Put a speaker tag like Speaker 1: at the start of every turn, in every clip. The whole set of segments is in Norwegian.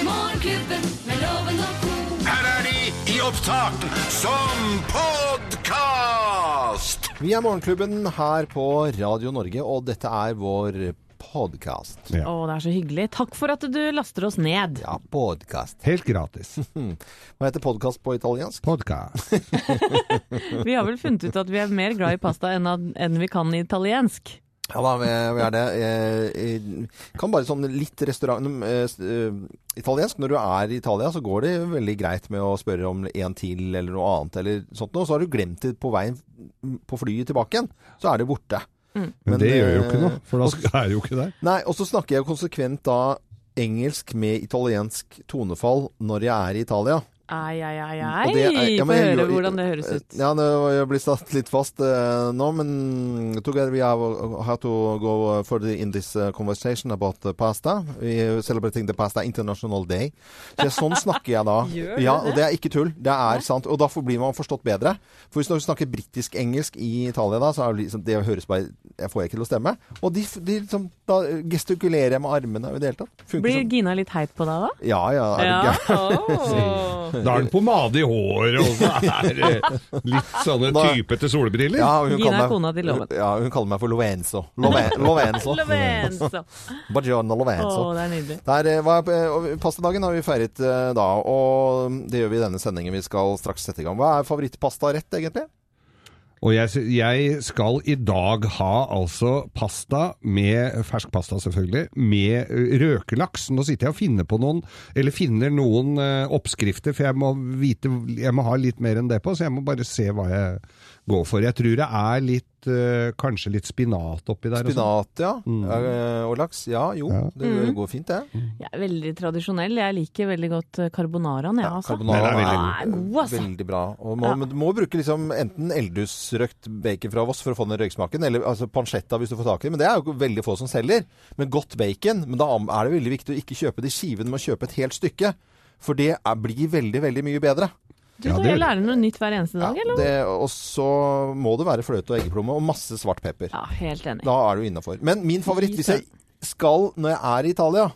Speaker 1: Morgenklubben med loven og ko.
Speaker 2: Her er de i opptak som podkast!
Speaker 3: Vi er Morgenklubben her på Radio Norge, og dette er vår podkast.
Speaker 4: Ja.
Speaker 5: Å, det er så hyggelig. Takk for at du laster oss ned.
Speaker 3: Ja, podkast.
Speaker 4: Helt gratis.
Speaker 3: Hva heter podkast på italiensk?
Speaker 4: Podcast.
Speaker 5: Vi har vel funnet ut at vi er mer glad i pasta enn, at- enn vi kan i italiensk.
Speaker 3: Ja da, vi vi er det. Eh, eh, Kan bare sånn litt restaurant... eh, s- eh, Italiensk. Når du er i Italia, så går det veldig greit med å spørre om en til eller noe annet eller sånt noe. Så har du glemt det på veien mm, på flyet tilbake igjen. Så er det borte.
Speaker 4: Men det gjør jo ikke
Speaker 3: eh,
Speaker 4: noe, for da skal- er det jo ikke der.
Speaker 3: Nei, og så snakker jeg jo konsekvent da engelsk med italiensk tonefall når jeg er i Italia.
Speaker 5: Ai, ai, ai,
Speaker 3: Og
Speaker 5: ai.
Speaker 3: det er- ja,
Speaker 5: Få
Speaker 3: men jeg
Speaker 5: høre
Speaker 3: gjør-
Speaker 5: hvordan det høres ut.
Speaker 3: Eh, Ja, nå, jeg blir satt litt fast eh, nå, men together we have, have to go further in this eh, conversation about the pasta. We celebrating the pasta international day. Så jeg, sånn snakker jeg da.
Speaker 5: Gjør du
Speaker 3: ja,
Speaker 5: det?
Speaker 3: Og det er ikke tull. Det er sant. Og da får- blir man forstått bedre. For hvis du snakker britisk-engelsk i Italia da, så er det liksom, det høres bare Jeg får ikke til å stemme. Og de, de liksom, da gestikulerer jeg med armene og i det hele tatt. Funker
Speaker 5: Blir
Speaker 3: sånn.
Speaker 5: Gina litt heit på deg da?
Speaker 3: Ja, ja. Er du gæren?
Speaker 5: Åh.
Speaker 4: Da er det pomade i håret, og så er det litt sånne
Speaker 3: Da-
Speaker 4: typete solbriller.
Speaker 3: Ja, hun
Speaker 5: Gina er
Speaker 3: kaller meg-
Speaker 5: kona til Loven.
Speaker 3: Ja, hun kaller meg for Lovenzo. Loven, Lovenzo.
Speaker 5: Lovenzo.
Speaker 3: Bagiano
Speaker 5: Å,
Speaker 3: Lovenzo.
Speaker 5: det er nydelig.
Speaker 3: Der, eh, hva, er- eh, og Pastadagen har vi feiret eh, da, og det gjør vi i denne sendingen. Vi skal straks sette i gang. Hva er favorittpastarett, egentlig?
Speaker 4: Og jeg, sy- jeg skal i dag ha altså pasta med fersk pasta, selvfølgelig, med ø, røkelaks. Nå sitter jeg og finner på noen, eller finner noen ø, oppskrifter, for jeg må vite Jeg må ha litt mer enn det på, så jeg må bare se hva jeg går for. Jeg tror det er litt ø, Kanskje litt spinat oppi der. og sånn.
Speaker 3: Spinat, ja. Eh, Og laks. Ja, jo.
Speaker 4: Ja.
Speaker 3: Det
Speaker 5: Mm.
Speaker 3: går fint, det.
Speaker 5: Jeg er veldig tradisjonell. Jeg liker veldig godt eh, carbonaraen, jeg, altså.
Speaker 3: Carbonara
Speaker 4: Den er veldig
Speaker 5: god. Den er god, altså.
Speaker 3: Veldig bra. Og må,
Speaker 5: Ja.
Speaker 3: men du må bruke liksom enten eldusrøkt bacon fra Voss for å få den røyksmaken, eller altså pancetta hvis du får tak i det. Men det er jo veldig få som selger. Men godt bacon. Men da er det veldig viktig å ikke kjøpe det i skiven, men å kjøpe et helt stykke. For det er, blir veldig, veldig mye bedre.
Speaker 5: Du
Speaker 4: Ja,
Speaker 5: skal
Speaker 4: det
Speaker 5: jo
Speaker 4: gjør
Speaker 5: lære noe nytt hver eneste dag, eller?
Speaker 3: det, og så må det være fløte og eggeplomme og masse svart pepper.
Speaker 5: Ja, helt enig.
Speaker 3: Da er du innafor. Men min favoritt, hvis jeg skal når jeg er i Italia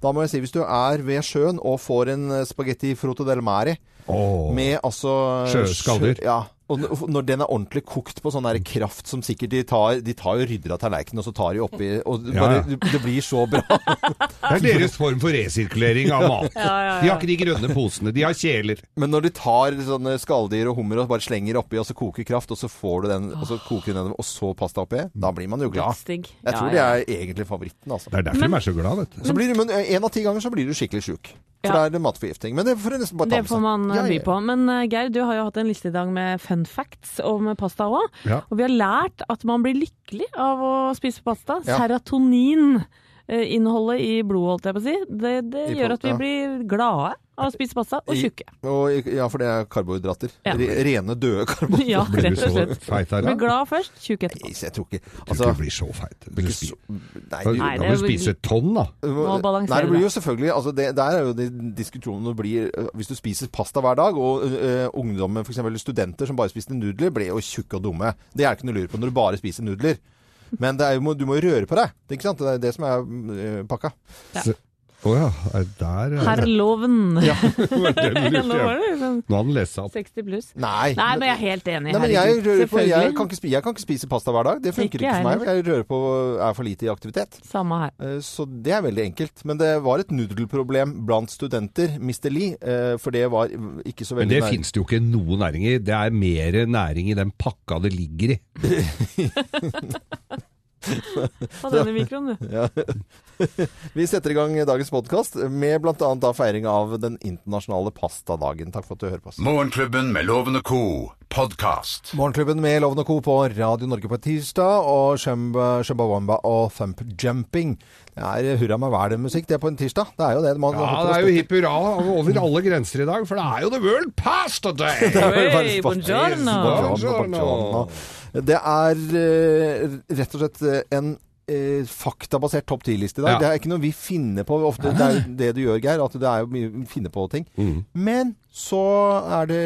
Speaker 3: da må jeg si, Hvis du er ved sjøen og får en eh, spagetti frotto del mare
Speaker 4: Åh.
Speaker 3: med altså eh,
Speaker 4: Sjøskaller.
Speaker 3: sjø- Ja. Og n- når den er ordentlig kokt på sånn der kraft som sikkert De tar, de tar jo rydder av tallerkenen, og så tar de oppi og
Speaker 4: Ja,
Speaker 3: bare,
Speaker 4: ja.
Speaker 3: Det blir så bra.
Speaker 4: Det er deres form for resirkulering av mat.
Speaker 5: Altså- ja,
Speaker 4: De har ikke de grønne posene, de har kjeler.
Speaker 3: Men når de tar sånne skalldyr og hummer og bare slenger oppi, og så koker kraft, og så får du den, og så koker den, og så pasta oppi, da blir man jo glad.
Speaker 5: Stig.
Speaker 3: Jeg tror
Speaker 5: Ja,
Speaker 3: det
Speaker 5: ja.
Speaker 3: er egentlig favoritten, altså.
Speaker 4: Det er derfor de er så glad, vet du.
Speaker 3: Så blir du, men eh, en av ti ganger så blir du skikkelig sjuk. For
Speaker 5: Ja.
Speaker 3: da er det matforgifting. Men det får du nesten bare ta
Speaker 5: Det får man eh, by på. Men eh, Geir, du har jo hatt en liste i dag med fun facts om pasta òg.
Speaker 4: Ja.
Speaker 5: Og vi har lært at man blir lykkelig av å spise pasta.
Speaker 3: Ja.
Speaker 5: Serotonin. eh, Innholdet i blodet, holdt jeg på å si. Det, det
Speaker 3: I blodet,
Speaker 5: gjør at vi
Speaker 3: ja.
Speaker 5: blir glade av å spise pasta, og tjukke.
Speaker 3: Og, ja, for det er karbohydrater.
Speaker 5: Ja.
Speaker 3: Re, rene, døde karbohydrater.
Speaker 5: Ja,
Speaker 4: Blir du
Speaker 5: rett
Speaker 4: så
Speaker 5: og slett.
Speaker 4: feit her, da?
Speaker 5: Blir glad først, tjukk etterpå.
Speaker 3: Nei, så jeg tror ikke
Speaker 4: Jeg
Speaker 3: altså,
Speaker 4: tror ikke du blir så feit. Du
Speaker 3: ikke
Speaker 4: spi-
Speaker 3: så- Nei,
Speaker 4: Da
Speaker 3: du-
Speaker 5: Nei,
Speaker 4: da
Speaker 5: det
Speaker 4: må du
Speaker 5: blir-
Speaker 4: spise et tonn, da.
Speaker 5: Må balansere
Speaker 3: Nei, det blir jo
Speaker 5: det.
Speaker 3: selvfølgelig altså det, Der er jo de diskusjonene blir øh, Hvis du spiser pasta hver dag, og øh, ungdommen, f.eks. studenter som bare spiste nudler, ble jo tjukke og dumme. Det er ikke noe lur på når du bare spiser nudler. Men det er jo, må- du må jo røre på deg. Det er Ikke sant? Det er det som er øh, pakka.
Speaker 4: Å ja, er der er det.
Speaker 5: Herloven.
Speaker 3: Ja.
Speaker 4: Den
Speaker 5: Nå
Speaker 4: lurte
Speaker 5: var
Speaker 4: jeg.
Speaker 5: det liksom
Speaker 4: Nå har han lest seg opp.
Speaker 5: 60 pluss.
Speaker 3: Nei.
Speaker 5: Nei, men jeg er helt enig.
Speaker 3: Nei, men jeg,
Speaker 5: herregud.
Speaker 3: rører på, jeg,
Speaker 5: Selvfølgelig.
Speaker 3: kan ikke, spi- jeg kan ikke spise pasta hver dag. Det funker
Speaker 5: Ikke
Speaker 3: ikke,
Speaker 5: jeg
Speaker 3: for meg. Jeg rører på er for lite i aktivitet.
Speaker 5: Samme her.
Speaker 3: Eh, Så det er veldig enkelt. Men det var et nudelproblem blant studenter, Mr. Lee, eh, for det var ikke så
Speaker 4: Men
Speaker 3: veldig
Speaker 4: det
Speaker 3: nær-
Speaker 4: fins det jo ikke noe næring i. Det er mer næring i den pakka det ligger i.
Speaker 5: Ta denne mikroen, du.
Speaker 3: Ja. Vi setter i gang dagens podkast med bl.a. feiring av den internasjonale pastadagen. Takk for at du hører på oss.
Speaker 2: Morgenklubben med Loven og co. podkast.
Speaker 3: Morgenklubben med Loven og Co. på Radio Norge på tirsdag, og Shumba, Wamba og Thump Jumping. Det er hurra meg hver-musikk, det er på en tirsdag. Det er jo det. Man,
Speaker 4: Ja, det er jo hipp hurra over alle grenser i dag, for det er jo the world pasta day!
Speaker 5: Hey, buongiorno.
Speaker 3: Buongiorno, buongiorno. Det er eh, rett og slett eh, en eh, faktabasert topp 10-liste i dag.
Speaker 4: Ja.
Speaker 3: Det er ikke noe vi finner på ofte. Det er jo det du gjør, Geir, at det er jo mye vi finner på ting.
Speaker 4: Mm.
Speaker 3: Men så er det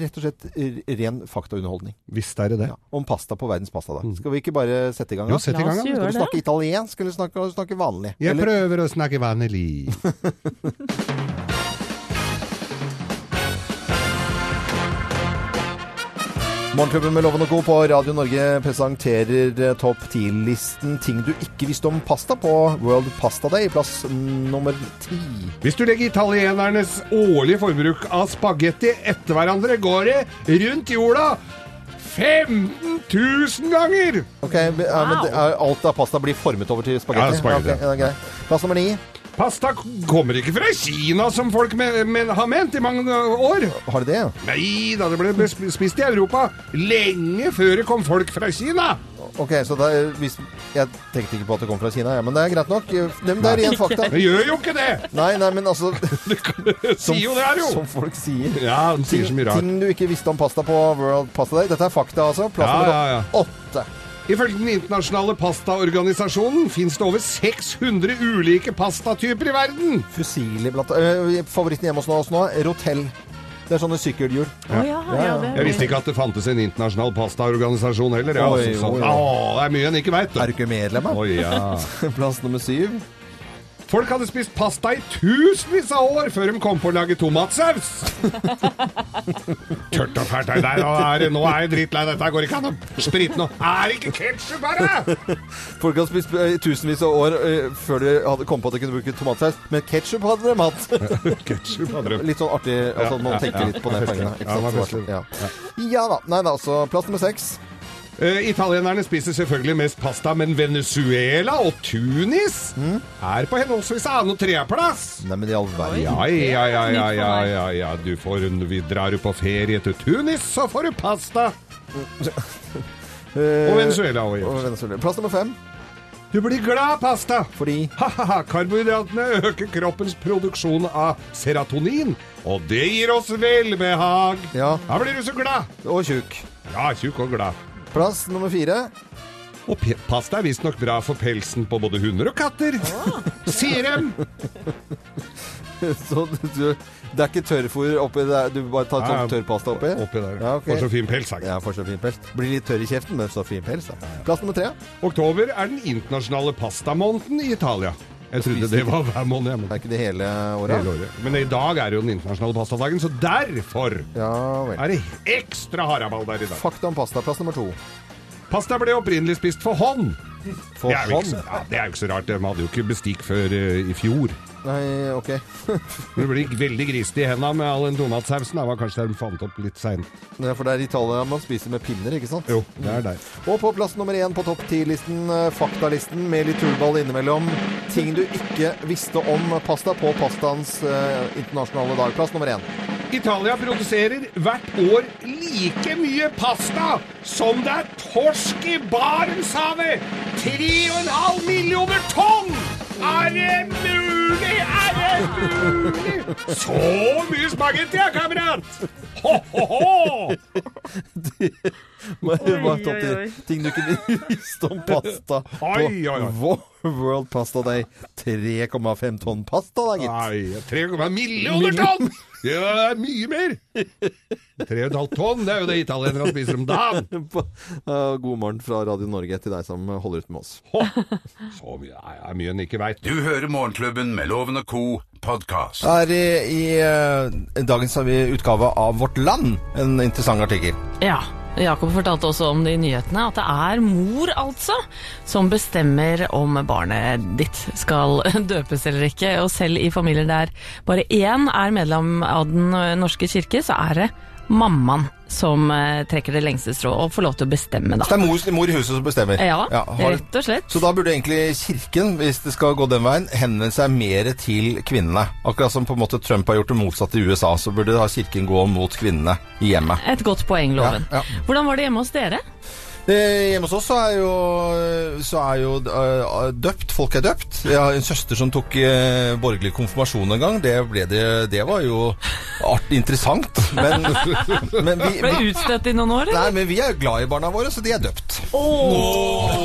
Speaker 3: rett og slett eh, ren faktaunderholdning
Speaker 4: Visst er det det.
Speaker 3: ja, om pasta på verdens pasta. Da. Skal vi ikke bare sette i gang?
Speaker 4: Mm. Jo,
Speaker 3: Da?
Speaker 4: sett i
Speaker 5: La
Speaker 4: gang, da.
Speaker 5: oss gjøre
Speaker 3: Skal du
Speaker 5: det.
Speaker 3: snakke italiensk eller snakke, snakke vanlig?
Speaker 4: Jeg
Speaker 3: Eller-
Speaker 4: prøver å snakke vanlig.
Speaker 3: Morgenklubben med Loven og Co. på Radio Norge presenterer eh, topp 10-listen ting du ikke visste om pasta på World Pasta Day, plass nummer ti.
Speaker 4: Hvis du legger italienernes årlige forbruk av spagetti etter hverandre, går det rundt jorda 15 000 ganger!
Speaker 3: Ok, er, men, det- er, Alt av pasta blir formet over til spagetti?
Speaker 4: Ja, spagetti.
Speaker 3: ok, det er greit. Plass nummer ni.
Speaker 4: Pasta kommer ikke fra Kina, som folk men, men, har ment i mange år.
Speaker 3: Har de det?
Speaker 4: Nei da, det ble ble sp- spist i Europa lenge før det kom folk fra Kina.
Speaker 3: Ok, så det er, hvis, Jeg tenkte ikke på at det kom fra Kina, jeg, men det er greit nok. Eh, Men det er ren fakta.
Speaker 4: Det gjør jo ikke det!
Speaker 3: Nei, nei, men altså
Speaker 4: Sier jo det her, jo.
Speaker 3: Som folk sier.
Speaker 4: Ja, den sier så mye rart.
Speaker 3: Ting du ikke visste om pasta på World Pasta Day. Dette er fakta, altså. Plass
Speaker 4: Ja,
Speaker 3: nummer
Speaker 4: ja, ja.
Speaker 3: åtte.
Speaker 4: Ifølge den internasjonale pastaorganisasjonen fins det over 600 ulike pastatyper i verden.
Speaker 3: Fusili blant øh, Favoritten hjemme hos nå- oss nå, Rotel. Det er sånne sykkelhjul.
Speaker 5: Å ja, ja, det
Speaker 4: Jeg visste ikke at det fantes en internasjonal pastaorganisasjon heller. Ja,
Speaker 3: Oi,
Speaker 4: altså, sånn.
Speaker 3: oi, oi.
Speaker 4: Å, det er mye en ikke veit.
Speaker 3: Er du ikke medlem, da?
Speaker 4: Oi, ja.
Speaker 3: Plass nummer syv.
Speaker 4: Folk hadde spist pasta i tusenvis av år før de kom på å lage tomatsaus. Tørt og fælt er det der. Nå er, det- nå er jeg drittlei. Dette går ikke an å sprite nå. Er det ikke ketsjup her, da?
Speaker 3: Folk har spist øh, i tusenvis av år øh, før de hadde kom på at de kunne bruke tomatsaus, men ketsjup hadde de hatt.
Speaker 4: Ketsjup hadde de.
Speaker 3: Litt sånn artig altså, Man
Speaker 4: ja,
Speaker 3: tenker
Speaker 4: ja.
Speaker 3: litt på det poenget.
Speaker 4: Ja, det var
Speaker 3: ikke sant?
Speaker 4: festlig.
Speaker 3: Ja. ja da. Nei da, så plass nummer seks.
Speaker 4: Eh, italienerne spiser selvfølgelig mest pasta, men Venezuela og Tunis
Speaker 3: Mm.
Speaker 4: er på henholdsvis annen- og tredjeplass.
Speaker 3: Nei, men i all verden.
Speaker 4: Ja, ja, ja, ja,
Speaker 5: Nytt for
Speaker 4: ja,
Speaker 5: meg.
Speaker 4: ja, ja. Du får, vi drar jo på ferie til Tunis, så får du pasta.
Speaker 3: Øh,
Speaker 4: Og Venezuela også, ja.
Speaker 3: og Venezuela. Plass nummer fem.
Speaker 4: Du blir glad av pasta.
Speaker 3: Fordi
Speaker 4: Ha-ha-ha, Karbohydratene øker kroppens produksjon av serotonin, og det gir oss velbehag.
Speaker 3: Ja.
Speaker 4: Da blir du så glad.
Speaker 3: Og tjukk.
Speaker 4: Ja, tjukk og glad.
Speaker 3: Plass nummer fire.
Speaker 4: Og pe- pasta er visstnok bra for pelsen på både hunder og katter. Sier dem.
Speaker 3: Så du, du, det er ikke tørrfôr oppi der? Du bare tar
Speaker 4: Ja, ja.
Speaker 3: sånn tørrpasta oppi?
Speaker 4: Oppi der.
Speaker 3: Ja, ok.
Speaker 4: Og så fin pels. sagt.
Speaker 3: Ja, for så fin pels. Blir litt tørr i kjeften, men så fin pels. Da. Plass nummer tre.
Speaker 4: Oktober er den internasjonale pastamåneden i Italia. Jeg trodde det var hver måned. jeg, men-
Speaker 3: Er ikke det hele året?
Speaker 4: Hele året. Men i dag er det jo den internasjonale pastadagen, så derfor
Speaker 3: Ja vel.
Speaker 4: er det ekstra haraball der i dag.
Speaker 3: Fakta om pasta. Plass nummer to.
Speaker 4: Pasta ble opprinnelig spist for hånd.
Speaker 3: For
Speaker 4: det, er jo ikke, så- ja, det er jo ikke så rart. De hadde jo ikke bestikk før eh, i fjor.
Speaker 3: Nei, ok.
Speaker 4: Det blir veldig grisete i hendene med all den tomatsausen. Det var kanskje de fant opp litt seint.
Speaker 3: Det er For det er i Italia man spiser med pinner, ikke sant?
Speaker 4: Jo, det er der.
Speaker 3: Og på plass nummer én på topp ti-listen, eh, faktalisten med litt tullball innimellom. Ting du ikke visste om pasta på pastaens eh, internasjonale dag. Plass nummer én.
Speaker 4: Italia produserer hvert år like mye pasta som det er torsk i Barentshavet! 3,5 millioner tonn! Er det mulig? Er det mulig? Så mye spagetti, ja, kamerat! Ho, ho, ho!
Speaker 3: Hva er
Speaker 5: Oi,
Speaker 3: topp ti
Speaker 5: oi, oi.
Speaker 3: ting du ikke visste om pasta på
Speaker 4: Oi, oi, oi.
Speaker 3: Wo- World Pasta Day? 3,5 tonn pasta, da, gitt.
Speaker 4: Nei, 3,5 millioner tonn! Det er mye mer! 3,5 tonn, det er jo det italienerne spiser om dagen!
Speaker 3: Eh, God morgen fra Radio Norge til deg som holder ut med oss.
Speaker 4: Ho, så mye Nei, det er mye en ikke veit.
Speaker 2: Du hører Morgenklubben med Loven og Co. podkast.
Speaker 3: Her i, eh, dagens utgave av Vårt Land en interessant artikkel.
Speaker 5: Ja. Jakob fortalte også om det i nyhetene, at det er mor, altså, som bestemmer om barnet ditt skal døpes eller ikke. Og selv i familier der bare én er medlem av Den norske kirke, så er det mammaen som eh, trekker det lengste strået og får lov til å bestemme, da.
Speaker 3: Det er mor, mor i huset som bestemmer.
Speaker 5: Ja,
Speaker 3: har,
Speaker 5: rett og slett.
Speaker 3: så da burde egentlig Kirken, hvis det skal gå den veien, henvende seg mer til kvinnene. Akkurat som på en måte Trump har gjort det motsatte i USA, så burde da Kirken gå mot kvinnene i hjemmet.
Speaker 5: Et godt poeng, Loven.
Speaker 3: Ja,
Speaker 5: Hvordan var det hjemme hos dere?
Speaker 3: Eh, Hjemme hos oss så er jo, så er jo eh, døpt, folk er døpt. Jeg har en søster som tok eh, borgerlig konfirmasjon en gang. Det, ble det, det var jo art, interessant. Men, men, vi,
Speaker 5: Ble
Speaker 3: vi,
Speaker 5: utstøtt i noen år?
Speaker 3: nei,
Speaker 5: eller?
Speaker 3: men vi er jo glad i barna våre, så de er døpt.
Speaker 5: Åh,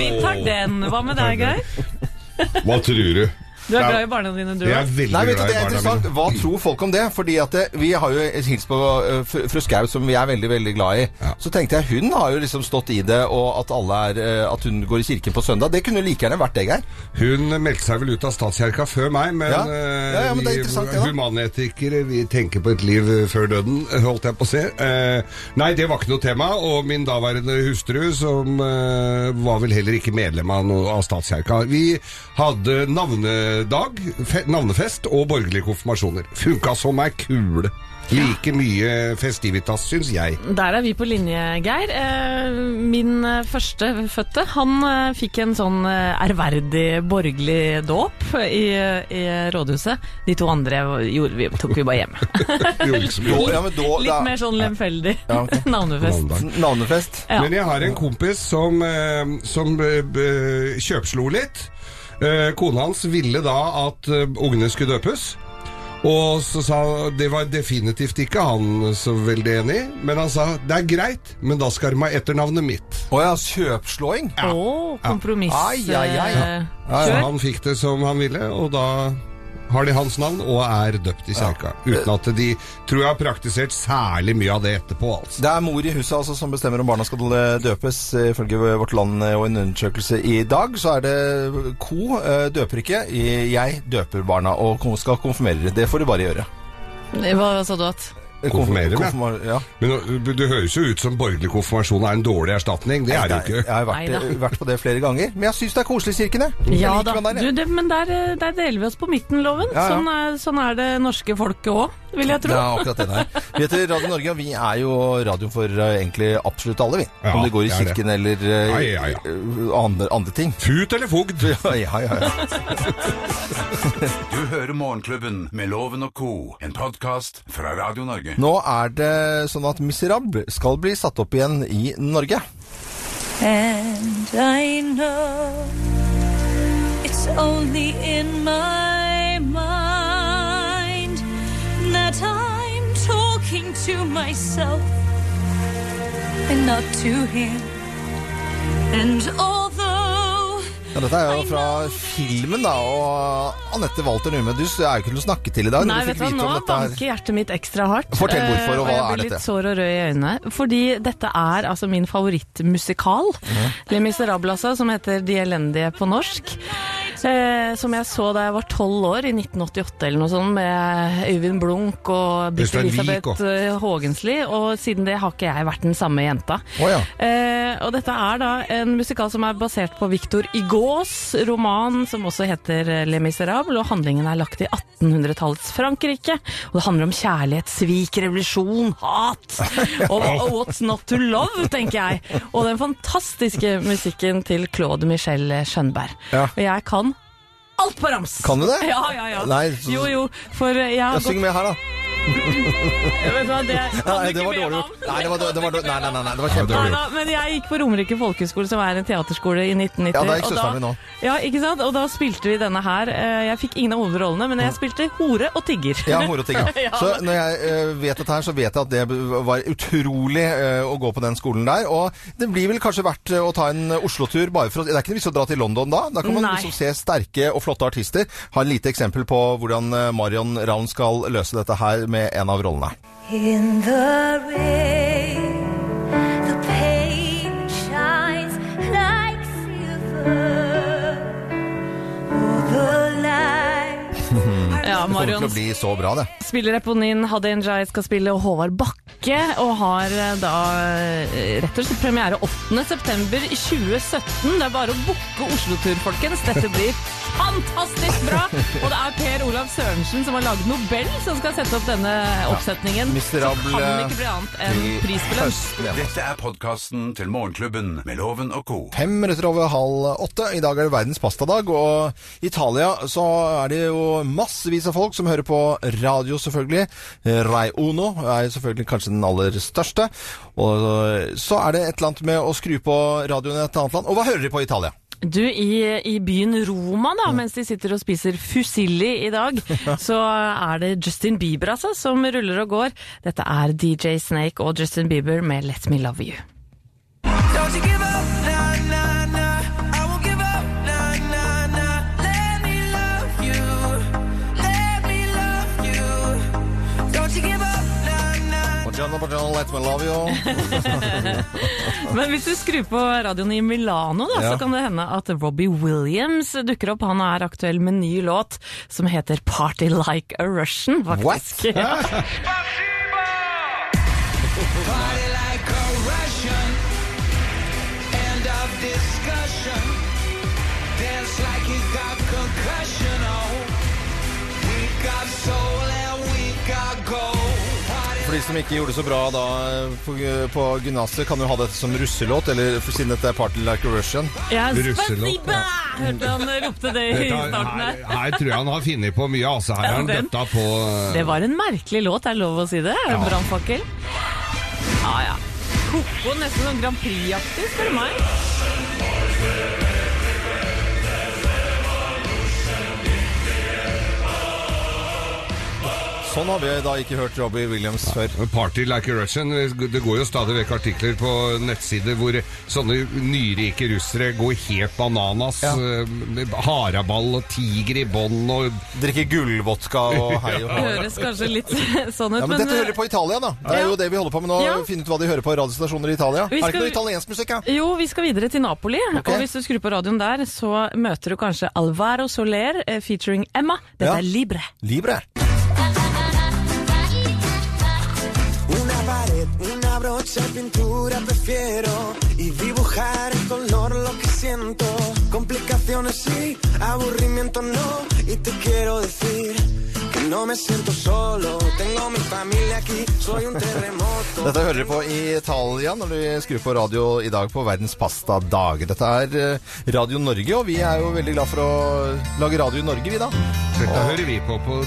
Speaker 5: Vi tar den. Hva med deg, Geir?
Speaker 4: Hva tror du?
Speaker 5: Du er glad i barna dine, du
Speaker 4: Jeg er
Speaker 5: òg.
Speaker 4: veldig
Speaker 3: Nei, vet du,
Speaker 4: glad i
Speaker 3: det er
Speaker 4: barna
Speaker 3: interessant.
Speaker 4: mine.
Speaker 3: Hva tror folk om det? Fordi at eh, Vi har jo et hils på eh, fr- fru Skau, som vi er veldig veldig glad i.
Speaker 4: Ja.
Speaker 3: Så tenkte jeg hun har jo liksom stått i det, og at, alle er, eh, at hun går i kirken på søndag. Det kunne jo like gjerne vært deg, Geir.
Speaker 4: Hun meldte seg vel ut av statskirka før meg, men,
Speaker 3: Ja.
Speaker 4: eh,
Speaker 3: Ja, ja, men det er interessant, det
Speaker 4: vi
Speaker 3: da.
Speaker 4: humanetikere vi tenker på et liv eh, før døden, holdt jeg på å si. Eh, nei, det var ikke noe tema, og min daværende hustru, som eh, var vel heller ikke medlem av, noe, av statskirka Vi hadde navnedag, fe, navnefest og borgerlige konfirmasjoner. Funka som ei kule. Like mye festivitas, syns jeg.
Speaker 5: Der er vi på linje, Geir. Eh, Min eh, førstefødte han eh, fikk en sånn eh, ærverdig borgerlig dåp i, i rådhuset. De to andre gjorde vi, tok vi bare hjemme.
Speaker 4: Gjorde ikke så mye.
Speaker 3: Da- ja, men da- da-
Speaker 5: Litt mer sånn lemfeldig
Speaker 3: Ja, ok.
Speaker 5: navnefest.
Speaker 4: Mandag.
Speaker 3: Navnefest.
Speaker 5: Ja.
Speaker 4: Men jeg har en kompis som, eh, som eh, b- kjøpslo litt. Eh, Kona hans ville da at eh, ungene skulle døpes. Og så sa Det var definitivt ikke han så veldig enig i, men han sa det er greit, men da skal de ha etternavnet mitt.
Speaker 3: Å ja, kjøpslåing?
Speaker 5: Å, kompromiss.
Speaker 3: Ai, ai, ai.
Speaker 5: eh,
Speaker 4: Så
Speaker 5: kjør.
Speaker 4: han fikk det som han ville, og da har de hans navn og er døpt i kirka. Uten at de tror jeg har praktisert særlig mye av det etterpå, altså.
Speaker 3: Det er mor i huset altså, som bestemmer om barna skal eh, døpes. Eh, Ifølge Vårt Land eh, og en undersøkelse i dag, så er det Co eh, døper ikke. Eh, Jeg døper barna og ko- skal konfirmere. Det får du bare gjøre.
Speaker 5: Hva sa du at?
Speaker 3: Eh,
Speaker 4: Konfirmere, ja.
Speaker 3: konfirmere, ja.
Speaker 4: Men du, du høres jo ut som borgerlig konfirmasjon er en dårlig erstatning. Det er det jo
Speaker 3: Jeg
Speaker 4: ikke.
Speaker 3: har
Speaker 5: Nei
Speaker 3: vært,
Speaker 5: da.
Speaker 3: vært på det flere ganger. Men jeg syns det er koselig i kirken, jeg. Jeg
Speaker 5: Ja
Speaker 3: liker
Speaker 5: da,
Speaker 3: den der,
Speaker 5: du,
Speaker 3: jeg.
Speaker 5: det, men der, eh, der deler vi oss på midten, Loven.
Speaker 3: Ja, ja.
Speaker 5: Sånn, er, sånn er det norske folket òg, vil jeg
Speaker 3: Det
Speaker 5: tro.
Speaker 3: er akkurat det der. Vi heter Radio Norge, og vi er jo radioen for eh, egentlig absolutt alle, vi.
Speaker 4: Ja,
Speaker 3: Om det går i
Speaker 4: det er det.
Speaker 3: kirken eller eh,
Speaker 4: Ja, ja, ja.
Speaker 3: eh, andre, andre ting.
Speaker 4: Fut eller fogd?
Speaker 3: Ja, ja, ja. ja.
Speaker 2: Du hører Morgenklubben med Loven og Co., en podkast fra Radio Norge.
Speaker 3: Nå er det sånn at Miserable skal bli satt opp igjen i Norge.
Speaker 6: And I know it's only in my mind that I'm talking to myself and not to him. And although
Speaker 3: Ja, dette er jo fra filmen, da. Og Anette Walter Numme, du er jo ikke til å snakke til i dag.
Speaker 5: Nei,
Speaker 3: du
Speaker 5: vet
Speaker 3: fikk vite
Speaker 5: du hva, nå
Speaker 3: om dette her.
Speaker 5: banker hjertet mitt ekstra hardt.
Speaker 3: Fortell hvorfor, og
Speaker 5: eh,
Speaker 3: hva
Speaker 5: jeg
Speaker 3: er
Speaker 5: blir
Speaker 3: dette?
Speaker 5: litt sår og rød i øynene. Fordi dette er altså min favorittmusikal,
Speaker 3: Mhm.
Speaker 5: Le Miserable altså, som heter De elendige på norsk. Eh, som jeg så da jeg var tolv år, i 1988 eller noe sånt, med Øyvind Blunk og Britt
Speaker 4: Øystein Wiik
Speaker 5: Elisabeth
Speaker 4: og-
Speaker 5: eh, Haagensli. Og siden det har ikke jeg vært den samme jenta.
Speaker 3: Å ja.
Speaker 5: Eh, og dette er da en musikal som er basert på Victor Igauds roman, som også heter eh, Le Miserable, og handlingen er lagt i 1800-tallets Frankrike. Og det handler om kjærlighet, svik, revolusjon, hat, og, og what's not to love, tenker jeg. Og den fantastiske musikken til Claude Michel Schønberg.
Speaker 3: Ja.
Speaker 5: Og jeg kan alt på rams!
Speaker 3: Kan du det?
Speaker 5: Ja, ja, ja.
Speaker 3: Nei, så-
Speaker 5: Jo, jo, for eh, jeg har
Speaker 3: Ja,
Speaker 5: gått
Speaker 3: Syng med her, da.
Speaker 5: Vet du hva, det kan du
Speaker 3: Nei, det
Speaker 5: ikke
Speaker 3: var
Speaker 5: be
Speaker 3: dårlig
Speaker 5: meg
Speaker 3: gjort.
Speaker 5: om.
Speaker 3: Nei, det var, dårlig- det var, dårlig- nei, nei, nei, nei, det var
Speaker 5: Nei
Speaker 3: kjempedårlig.
Speaker 5: da, men jeg gikk på Romerike folkehøgskole, som er en teaterskole, i 1990.
Speaker 3: Ja, der gikk
Speaker 5: og
Speaker 3: søsteren min også.
Speaker 5: Ja, ikke sant? Og da spilte vi denne her. Eh, Jeg fikk ingen av hovedrollene, men jeg spilte hore og tigger.
Speaker 3: Mm. Ja, horoting, ja.
Speaker 5: Ja.
Speaker 3: Så når jeg eh, vet dette her, så vet jeg at det var utrolig eh, å gå på den skolen der. Og det blir vel kanskje verdt eh, å ta en Oslo-tur bare for å Det er ikke noe vits å dra til London da. Da kan man
Speaker 5: Nei.
Speaker 3: liksom se sterke og flotte artister. Har en lite eksempel på hvordan eh, Marion Ravn skal løse dette her med en av rollene.
Speaker 6: in the rain the pain shines like silver. All the lights are
Speaker 5: Ja,
Speaker 3: Det kommer til
Speaker 5: Marion
Speaker 3: å bli så bra, det.
Speaker 5: spiller Eponin, Hadia Njay skal spille Håvard Bakke, og har eh, da eh, rett og slett premiere 8. september i 2017. Det er bare å booke Oslo-tur, folkens. Dette blir fantastisk bra! Og det er Per Olav Sørensen som har laget Nobel, som skal sette opp denne oppsetningen.
Speaker 3: miserable eh,
Speaker 5: Så kan det ikke bli annet enn
Speaker 3: til
Speaker 5: prisbelønt.
Speaker 3: høsten, ja.
Speaker 2: Dette er podkasten til Morgenklubben med Loven og Co.
Speaker 3: Fem minutter over halv åtte. I dag er det verdens pastadag, og i Italia så er det jo massevis av folk som hører på radio, selvfølgelig. Rai Uno er jo selvfølgelig kanskje den aller største. Og så er det et eller annet med å skru på radioen i et annet land. Og hva hører de på i Italia?
Speaker 5: Du, i, i byen Roma, da, mens de sitter og spiser fusilli i dag, så er det Justin Bieber altså, som ruller og går. Dette er DJ Snake og Justin Bieber med Let Me Love You.
Speaker 7: Don't you give up, nah, nah, nah. I won't give up, nah, nah, nah. Let me love you.
Speaker 3: Madonna Pajon, Let Me Love You.
Speaker 5: Men hvis du skrur på radioen i Milano, da,
Speaker 3: Ja.
Speaker 5: så kan det hende at Robbie Williams dukker opp. Han er aktuell med en ny låt som heter 'Party Like a Russian', faktisk.
Speaker 7: Party like a Russian. End of discussion. Dance like you got concussion. Oh, we got soul and we got gold. Party
Speaker 3: For de som ikke gjorde det så bra da på, på gymnaset, kan jo ha dette som russelåt, eller for siden dette er Party Like a Russian.
Speaker 5: Ja,
Speaker 4: Russelåt,
Speaker 5: Spasiba! Hørte han ropte det i
Speaker 4: Dette,
Speaker 5: starten
Speaker 4: her,
Speaker 5: her.
Speaker 4: her tror jeg han har funnet på mye, altså. Her har han
Speaker 5: Ja, den-
Speaker 4: døtta på eh,
Speaker 5: Det var en merkelig låt, er det lov å si det?
Speaker 4: Ja.
Speaker 5: Brannfakkel. Ja ja. Koko nesten sånn Grand Prix-aktig, spør du meg.
Speaker 3: Sånn har vi da ikke hørt Robbie Williams før.
Speaker 4: Party like a Russian. Det går jo stadig vekk artikler på nettsider hvor sånne nyrike russere går helt bananas.
Speaker 3: Ja.
Speaker 4: eh, med Haraball og tiger i bånd og
Speaker 3: Drikke gullvodka og hei og hå.
Speaker 5: Høres kanskje litt sånn ut,
Speaker 3: Ja, men Dette hører de på i Italia, da. Det er
Speaker 5: Ja.
Speaker 3: jo det vi holder på med nå.
Speaker 5: Ja.
Speaker 3: Finne ut hva de hører på radiostasjoner i Italia. Er det
Speaker 5: Vi
Speaker 3: ikke
Speaker 5: skal-
Speaker 3: noe italiensk musikk, da?
Speaker 5: eh, Jo, vi skal videre til Napoli.
Speaker 3: Ok.
Speaker 5: Og hvis du skrur på radioen der, så møter du kanskje Alvaro Soler eh, featuring Emma. Dette
Speaker 3: Ja.
Speaker 5: er Libre.
Speaker 3: Libre.
Speaker 8: Una pared, una brocha de pintura prefiero y dibujar en color lo que siento. Complicaciones sí, aburrimiento no. Y te quiero decir que no me siento solo. Tengo mi familia aquí, soy un terremoto.
Speaker 3: Dette hører dere på i Italia når du skrur på radio i dag på Verdens pastadag. Dette er eh, Radio Norge, og vi er jo veldig glad for å lage radio i Norge, vi da.
Speaker 4: Dette hører vi på på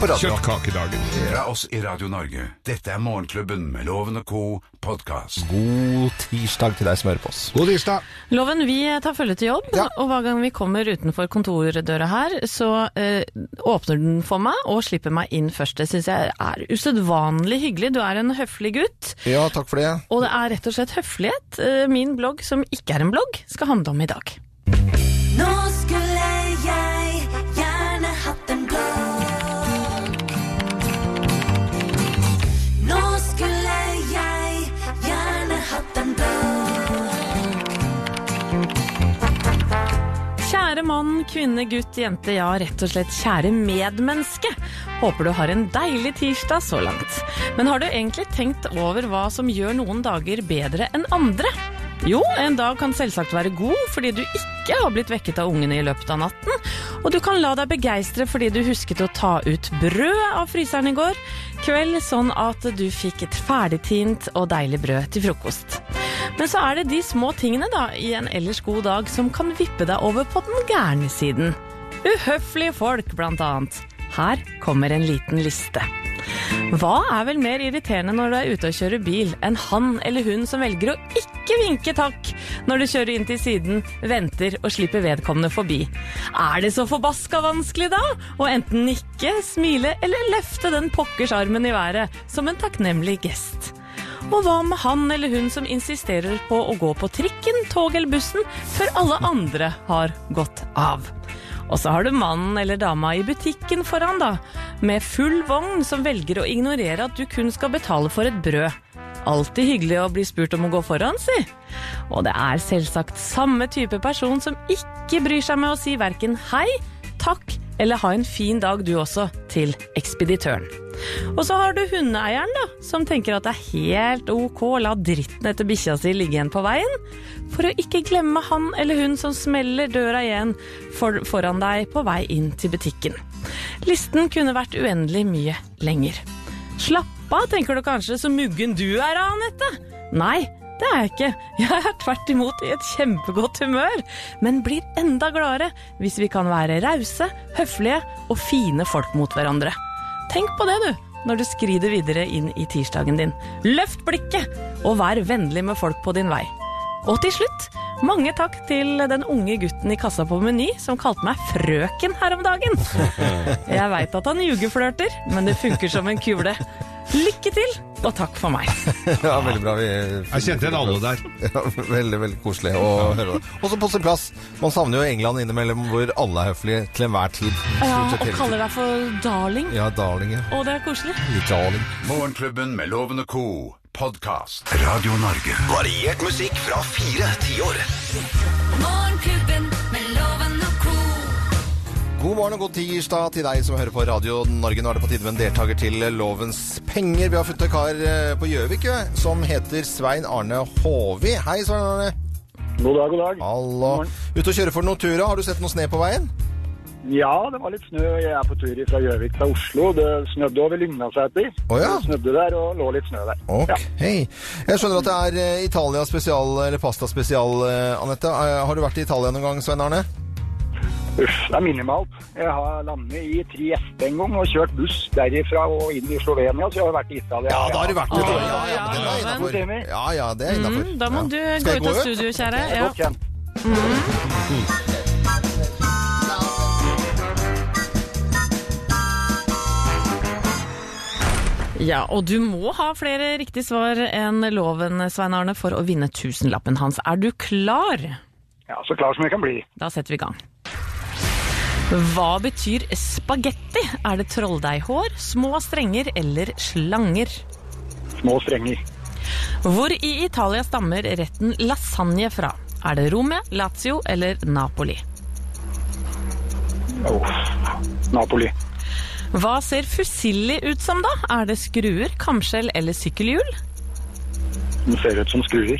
Speaker 3: På radio.
Speaker 4: kjøttkakedagen.
Speaker 2: Fra oss i Radio Norge. Dette er Morgenklubben med Loven og co. podkast.
Speaker 3: God tirsdag til deg som hører på oss.
Speaker 4: God tirsdag.
Speaker 5: Loven, vi tar følge til jobb,
Speaker 3: Ja.
Speaker 5: og hver gang vi kommer utenfor kontordøra her, så eh, åpner den for meg og slipper meg inn først. Det syns jeg er usedvanlig hyggelig. Du er en høflig gutt,
Speaker 3: Ja, takk for det.
Speaker 5: og det er rett og slett høflighet eh, min blogg, som ikke er en blogg, skal handle om i dag.
Speaker 6: Nå skulle jeg gjerne hatt en blogg. Nå skulle jeg gjerne hatt en blogg.
Speaker 5: Kjære mann, kvinne, gutt, jente, ja rett og slett kjære medmenneske. Håper du har en deilig tirsdag så langt. Men har du egentlig tenkt over hva som gjør noen dager bedre enn andre? Jo, en dag kan selvsagt være god fordi du ikke har blitt vekket av ungene i løpet av natten, og du kan la deg begeistre fordi du husket å ta ut brød av fryseren i går kveld, sånn at du fikk et ferdigtint og deilig brød til frokost. Men så er det de små tingene da, i en ellers god dag som kan vippe deg over på den gærne siden. Uhøflige folk, blant annet. Her kommer en liten liste. Hva er vel mer irriterende når du er ute og kjører bil, enn han eller hun som velger å ikke vinke takk når du kjører inn til siden, venter og slipper vedkommende forbi? Er det så forbaska vanskelig da å enten nikke, smile eller løfte den pokkers armen i været som en takknemlig gest? Og hva med han eller hun som insisterer på å gå på trikken, tog eller bussen før alle andre har gått av? Og så har du mannen eller dama i butikken foran, da, med full vogn som velger å ignorere at du kun skal betale for et brød. Alltid hyggelig å bli spurt om å gå foran, si. Og det er selvsagt samme type person som ikke bryr seg med å si verken hei, takk eller ha en fin dag du også, til ekspeditøren. Og så har du hundeeieren, da, som tenker at det er helt ok å la dritten etter bikkja si ligge igjen på veien, for å ikke glemme han eller hun som smeller døra igjen for, foran deg på vei inn til butikken. Listen kunne vært uendelig mye lenger. Slapp av, tenker du kanskje, så muggen du er av, Anette. Nei, det er jeg ikke. Jeg er tvert imot i et kjempegodt humør, men blir enda gladere hvis vi kan være rause, høflige og fine folk mot hverandre. Tenk på det, du, når du skrider videre inn i tirsdagen din. Løft blikket, og vær vennlig med folk på din vei. Og til slutt, mange takk til den unge gutten i kassa på Meny som kalte meg frøken her om dagen. Jeg veit at han jugeflørter, men det funker som en kule. Lykke til, og takk for meg.
Speaker 3: Ja, veldig bra. Vi,
Speaker 4: Jeg kjente igjen alle der.
Speaker 3: Ja, veldig, veldig koselig å høre det. Også på sin plass. Man savner jo England innimellom hvor alle er høflige til enhver tid.
Speaker 5: Ja,
Speaker 3: Stort sett
Speaker 5: og
Speaker 3: hele
Speaker 5: kaller
Speaker 3: tiden.
Speaker 5: deg for darling.
Speaker 3: Ja, darling. ja.
Speaker 5: Og det er koselig.
Speaker 3: Darling.
Speaker 2: Morgenklubben med Loven og Co. Podcast. Radio Norge.
Speaker 9: Variert musikk fra fire tiår.
Speaker 1: Morgenklubben med Loven og co.
Speaker 3: God morgen og god tirsdag til deg som hører på Radio Norge. Nå er det på tide med en deltaker til Lovens penger. Vi har funnet en kar eh, på Gjøvik jo, som heter Svein Arne Håvi. Hei, Svein Arne.
Speaker 10: God dag, god dag.
Speaker 3: Hallo.
Speaker 10: morgen.
Speaker 3: Ute og kjøre for Nortura. Har du sett noe snø på veien?
Speaker 10: Ja, det var litt snø. Jeg er på tur fra Gjøvik til Oslo. Det snødde over Lyngnadsæter.
Speaker 3: Å ja.
Speaker 10: Det snødde der og lå litt snø der.
Speaker 3: Ok.
Speaker 10: Ja.
Speaker 3: Jeg skjønner at det er eh, Italia spesial, eller pasta spesial, eh, Anette. Eh, Har du vært i Italia noen gang, Svein Arne?
Speaker 10: Uff, det er minimalt. Jeg har landet i Trieste en gang og kjørt buss derifra og inn i Slovenia, så jeg har vært i Italia.
Speaker 3: Ja, da har du vært i
Speaker 5: Ja,
Speaker 3: Italia.
Speaker 5: ja,
Speaker 3: Ja, men den er innafor.
Speaker 5: ja,
Speaker 10: men-
Speaker 3: Ja, ja, det er innafor.
Speaker 5: Mm, da må du gå
Speaker 3: Skal jeg
Speaker 5: ut av
Speaker 3: gå ut?
Speaker 5: studio, kjære.
Speaker 10: Det er
Speaker 5: Ja.
Speaker 10: godt kjent.
Speaker 5: ja, og du må ha flere riktige svar enn loven, Svein Arne, for å vinne tusenlappen hans. Er du klar?
Speaker 10: Ja, så klar som jeg kan bli.
Speaker 5: Da setter vi i gang. Hva betyr spagetti? Er det trolldeighår, små strenger eller slanger?
Speaker 10: Små strenger.
Speaker 5: Hvor i Italia stammer retten lasagne fra? Er det Romea, Lazio eller Napoli?
Speaker 10: Uff. Napoli.
Speaker 5: Hva ser fusilli ut som da? Er det skruer, kamskjell eller sykkelhjul?
Speaker 10: Den ser ut som skruer.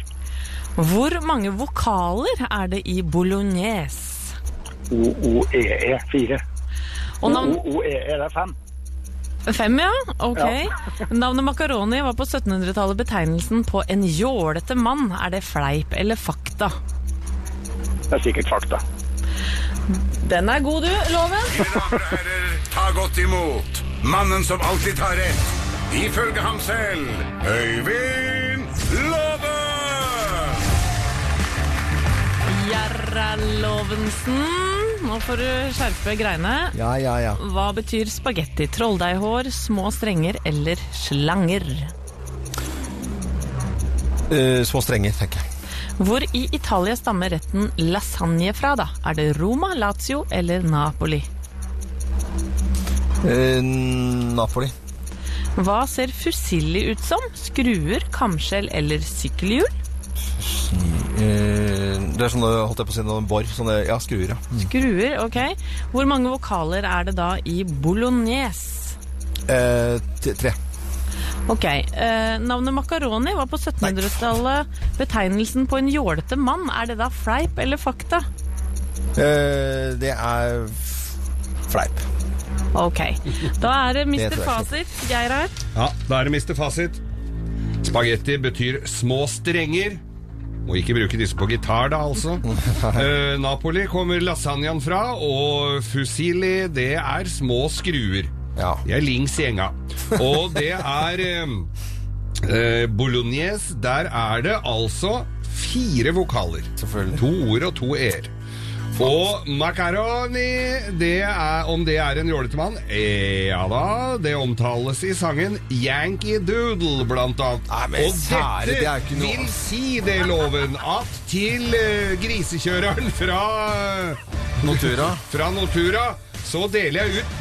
Speaker 5: Hvor mange vokaler er det i bolognese?
Speaker 10: O-O-E-E. E Fire.
Speaker 5: Og navn...
Speaker 10: O-O-E-E, E, det er fem.
Speaker 5: Fem, ja? Ok. Navnet makaroni var på 1700-tallet betegnelsen på en jålete mann. Er det fleip eller fakta?
Speaker 10: Det er sikkert fakta.
Speaker 5: Den er god, du, Loven.
Speaker 2: Mine damer og herrer, ta godt imot mannen som alltid tar rett, ifølge ham selv, Øyvind Låve!
Speaker 5: Gjerra Lovensen. Nå får du skjerpe greiene.
Speaker 3: Ja, ja, ja.
Speaker 5: Hva betyr spagetti? Trolldeighår, små strenger eller slanger?
Speaker 3: Eh, små strenger, tenker jeg.
Speaker 5: Hvor i Italia stammer retten lasagne fra, da? Er det Roma, Lazio eller Napoli?
Speaker 3: Eh, Napoli.
Speaker 5: Hva ser fusilli ut som? Skruer, kamskjell eller sykkelhjul?
Speaker 3: Eh, det er sånne, holdt jeg på å si, noen bor. Sånne, ja, skruer, ja.
Speaker 5: Skruer, ok. Hvor mange vokaler er det da i bolognese?
Speaker 3: Eh, t- tre.
Speaker 5: Ok, eh, Navnet makaroni var på 1700-tallet betegnelsen på en jålete mann. Er det da fleip eller fakta?
Speaker 3: Eh, det er f- fleip.
Speaker 5: Ok, da er det
Speaker 3: Det
Speaker 5: Mr.
Speaker 3: tror jeg
Speaker 5: Fasit, Geir her.
Speaker 4: Ja, da er det mister fasit. Spagetti betyr små strenger. Må ikke bruke disse på gitar, da, altså. Eh, Napoli kommer lasagnaen fra, og fusilli, det er små skruer.
Speaker 3: Ja.
Speaker 4: De er lings i enga. Og det er eh, eh, Bolognese, der er det altså fire vokaler.
Speaker 3: Selvfølgelig.
Speaker 4: To ord og to e-er. Og macaroni, det er, om det er en jålete mann? Eh, ja da, det omtales i sangen Yankee Doodle, blant annet.
Speaker 3: Nei, men
Speaker 4: og
Speaker 3: sære, det er ikke noe-
Speaker 4: vil si det, loven, at til eh, grisekjøreren fra eh,
Speaker 3: Notura.
Speaker 4: fra Nortura, så deler jeg ut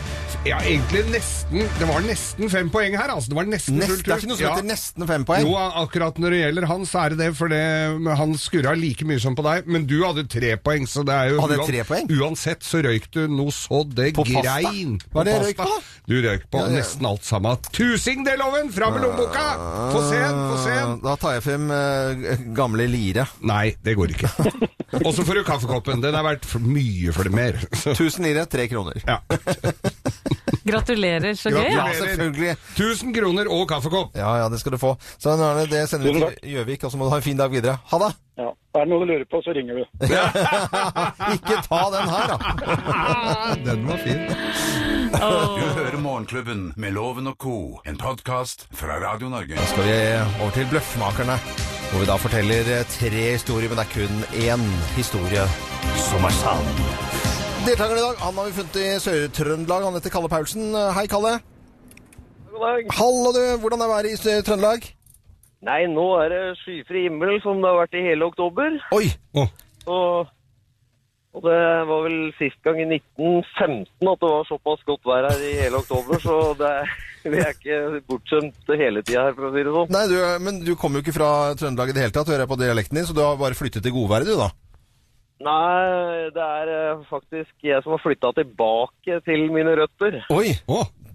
Speaker 4: ja, egentlig nesten Det var nesten fem poeng her, altså. Det var nesten
Speaker 3: Nest,
Speaker 4: fullt
Speaker 3: det er ikke noe som
Speaker 4: Ja.
Speaker 3: heter nesten fem poeng.
Speaker 4: Jo, akkurat når det gjelder han, så er det det, for det, men han skurra like mye som på deg. Men du hadde tre poeng, så det er jo
Speaker 3: Hadde jeg tre poeng?
Speaker 4: Uansett så røyk du noe så det
Speaker 3: På pasta?
Speaker 4: grein.
Speaker 3: Hva er det
Speaker 4: pasta.
Speaker 3: jeg røyk på da?
Speaker 4: Du røyk på
Speaker 3: Ja, ja.
Speaker 4: nesten alt sammen. Tusingdeloven! Fram med lommeboka! Få se den, få se den!
Speaker 3: Da tar jeg frem eh, gamle lire.
Speaker 4: Nei, det går ikke. Og så får du kaffekoppen. Den er verdt for mye for det mer.
Speaker 3: Tusen lire, tre kroner.
Speaker 4: Ja.
Speaker 5: Gratulerer, så gøy.
Speaker 3: Ja,
Speaker 5: Ja.
Speaker 4: Gratulerer.
Speaker 3: selvfølgelig.
Speaker 4: 1000 kroner og kaffekopp.
Speaker 3: Ja, ja, det skal du få. Så nå er det, det sender vi
Speaker 10: Tusen
Speaker 3: til Gjøvik, og så må du ha en fin dag videre. Ha det!
Speaker 10: Ja. Er det noe du lurer på, så ringer du.
Speaker 3: Ikke ta den her, da!
Speaker 4: Den var fin.
Speaker 2: Du hører Morgenklubben med Loven og Co., en podcast fra Radio Norge.
Speaker 3: Da skal vi over til Bløffmakerne, hvor vi da forteller eh, tre historier, men det er kun én historie som er sann. Deltakeren i dag han har vi funnet i Sør-Trøndelag. Han heter Kalle Paulsen. Hei, Kalle.
Speaker 10: God
Speaker 11: god dag.
Speaker 3: Hallo du, hvordan er været i eh, Trøndelag?
Speaker 11: Nei, nå er det skyfri himmel som det har vært i hele oktober.
Speaker 3: Oi!
Speaker 11: Og, og det var vel sist gang i 1915 at det var såpass godt vær her i hele oktober, så det, vi er ikke bortskjemt hele tida her, for å si det sånn.
Speaker 3: Nei, du, men du kommer jo ikke fra Trøndelag i det hele tatt, hører jeg på dialekten din, så du har bare flyttet til godværet du da.
Speaker 11: Nei, det er eh, faktisk jeg som har flytta tilbake til mine røtter.
Speaker 3: Oi!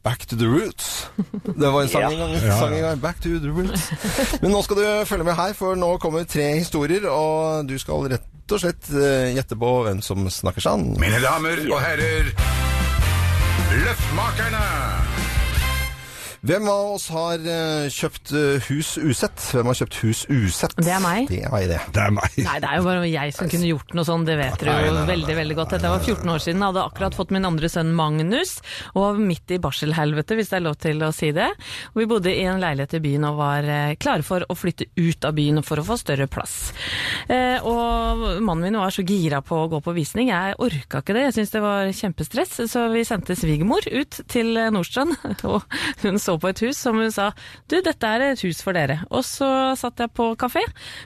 Speaker 3: Back to the roots. Det var en sang en gang.
Speaker 11: Ja.
Speaker 3: en
Speaker 11: Ja,
Speaker 3: Sang en gang. Back to the roots. Men nå skal du følge med her, for nå kommer tre historier, og du skal rett og slett eh, gjette på hvem som snakker sann.
Speaker 2: Mine damer og herrer, Løftmakerne!
Speaker 3: Hvem av oss har eh, kjøpt eh, hus usett? Hvem har kjøpt hus usett?
Speaker 5: Det er meg.
Speaker 3: Det er det.
Speaker 4: Det er meg.
Speaker 5: Nei, det er jo bare jeg som kunne gjort noe sånn, det vet dere
Speaker 3: Nei,
Speaker 5: jo
Speaker 3: nei, nei,
Speaker 5: veldig, veldig godt. Dette var 14 år siden, jeg hadde akkurat fått min andre sønn Magnus, og var midt i barselhelvete, hvis det er lov til å si det. Og vi bodde i en leilighet i byen og var eh, klare for å flytte ut av byen for å få større plass. Eh, og mannen min var så gira på å gå på visning, jeg orka ikke det, jeg syntes det var kjempestress, så vi sendte svigermor ut til eh, Nordstrand, og hun så på et hus som hun sa, du, dette er et hus for dere. Og så satt jeg på kafé,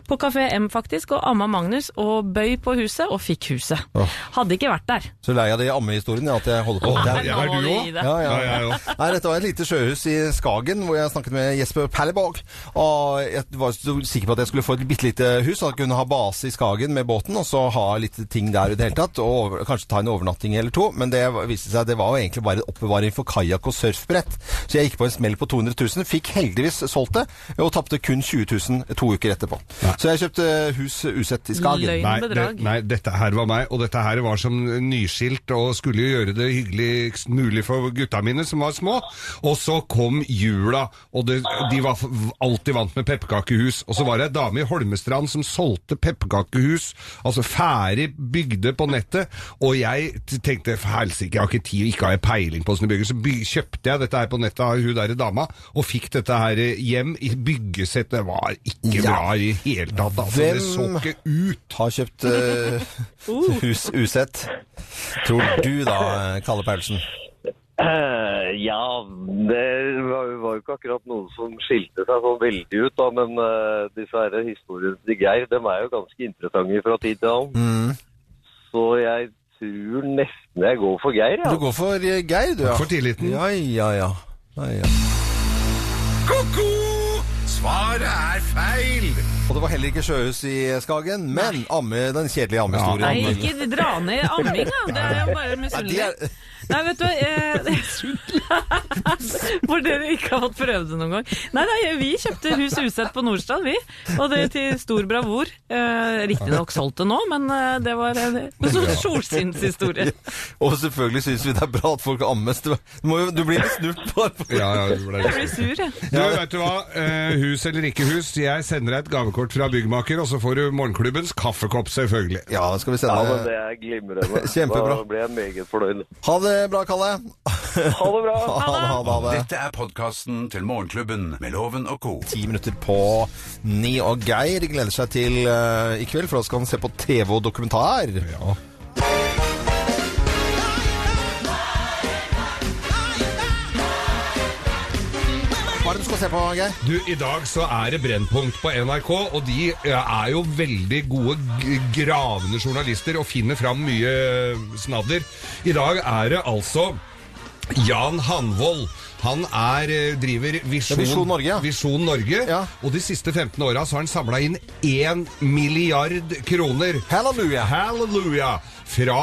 Speaker 5: på Kafé M faktisk, og amma Magnus og bøy på huset, og fikk huset. Hadde ikke vært der.
Speaker 3: Så lei av de ammehistoriene at jeg holder på.
Speaker 5: Åh,
Speaker 3: Det
Speaker 5: ja, er du også?
Speaker 3: Ja, ja,
Speaker 5: Ja, jeg
Speaker 3: ja. Nei, dette var et lite sjøhus i Skagen hvor jeg snakket med Jesper Perleborg. Og jeg var så sikker på at jeg skulle få et bitte lite hus, sånn at jeg kunne ha base i Skagen med båten, og så ha litt ting der i det hele tatt, og over, kanskje ta en overnatting eller to. Men det var- viste seg at det var jo egentlig bare en oppbevaring for kajakk og surfbrett. Så jeg gikk på en smell på 200 000, fikk heldigvis solgt det, og tapte kun 20 000 to uker etterpå. Så jeg kjøpte eh, hus usett i Skagen.
Speaker 4: Nei, det, nei, dette her var meg, og dette her var som nyskilt, og skulle jo gjøre det hyggeligst mulig for gutta mine som var små. Og så kom jula, og det, de var f- alltid vant med pepperkakehus. Og så var det ei dame i Holmestrand som solgte pepperkakehus, altså ferdig bygde på nettet, og jeg t- tenkte for helsike, jeg har ikke tid, ikke har jeg peiling på åssen det bygges. Så by, kjøpte jeg dette her på nettet av hun derre dama, og fikk dette her eh, hjem i byggesett. Det var ikke
Speaker 3: Ja.
Speaker 4: bra i det hele tatt, altså. Det så ikke
Speaker 3: har kjøpt eh, hus usett? Tror du da, Kalle Paulsen?
Speaker 11: Eh, Ja, det var, var jo ikke akkurat noen som skilte seg så veldig ut, da, men eh, disse her historiene til Geir dem er jo ganske interessante fra tid til annen.
Speaker 3: Mm.
Speaker 11: Så jeg tror nesten jeg går for Geir, ja.
Speaker 3: Du går for eh, Geir, du, ja.
Speaker 11: For tilliten.
Speaker 3: Ja, ja, ja. ja, ja.
Speaker 2: Ko-ko! Svaret er feil!
Speaker 3: Og det var heller ikke sjøhus i Skagen, men amme, den kjedelige
Speaker 5: Nei,
Speaker 3: ammehistorien.
Speaker 5: ikke dra ned amming, da. Det er jo bare misunnelig.
Speaker 3: Ja, det
Speaker 5: Nei, vet du hva eh, For dere ikke har fått prøve det noen gang. Nei, nei, vi kjøpte hus usett på Nordstrand, vi. Og det til stor bravur. Eh, Riktignok solgt det nå, men eh, det var en en solskinnshistorie.
Speaker 3: Og selvfølgelig syns vi det er bra at folk ammes. Du, må jo, du blir litt snurt bare på
Speaker 4: Ja, ja, du ble
Speaker 5: Jeg blir sur, jeg.
Speaker 4: Du, vet du hva? Eh, hus eller ikke hus, jeg sender deg et gavekort fra byggmaker, og så får du morgenklubbens kaffekopp, selvfølgelig.
Speaker 3: Ja, det skal vi
Speaker 11: Ja, men det er glimrende.
Speaker 4: Kjempebra.
Speaker 11: Da ble jeg meget fornøyd.
Speaker 3: Ha det bra, Kalle.
Speaker 11: Ha det bra.
Speaker 2: Dette er podkasten til Morgenklubben med Loven og co.
Speaker 3: Ti minutter på ni, og Geir gleder seg til eh, i kveld, for da skal han se på TV og dokumentar. Hva er det du skal se på, Geir?
Speaker 4: Du, I dag så er det Brennpunkt på NRK, og de eh, er jo veldig gode g- gravende journalister og finner fram mye eh, snadder. I dag er det altså Jan Hanvold. Han er, eh, driver Visjon,
Speaker 3: Visjon Norge,
Speaker 4: Visjon Norge, og de siste 15 åra så har han samla inn 1 milliard kroner.
Speaker 3: Halleluja!
Speaker 4: Halleluja! Fra,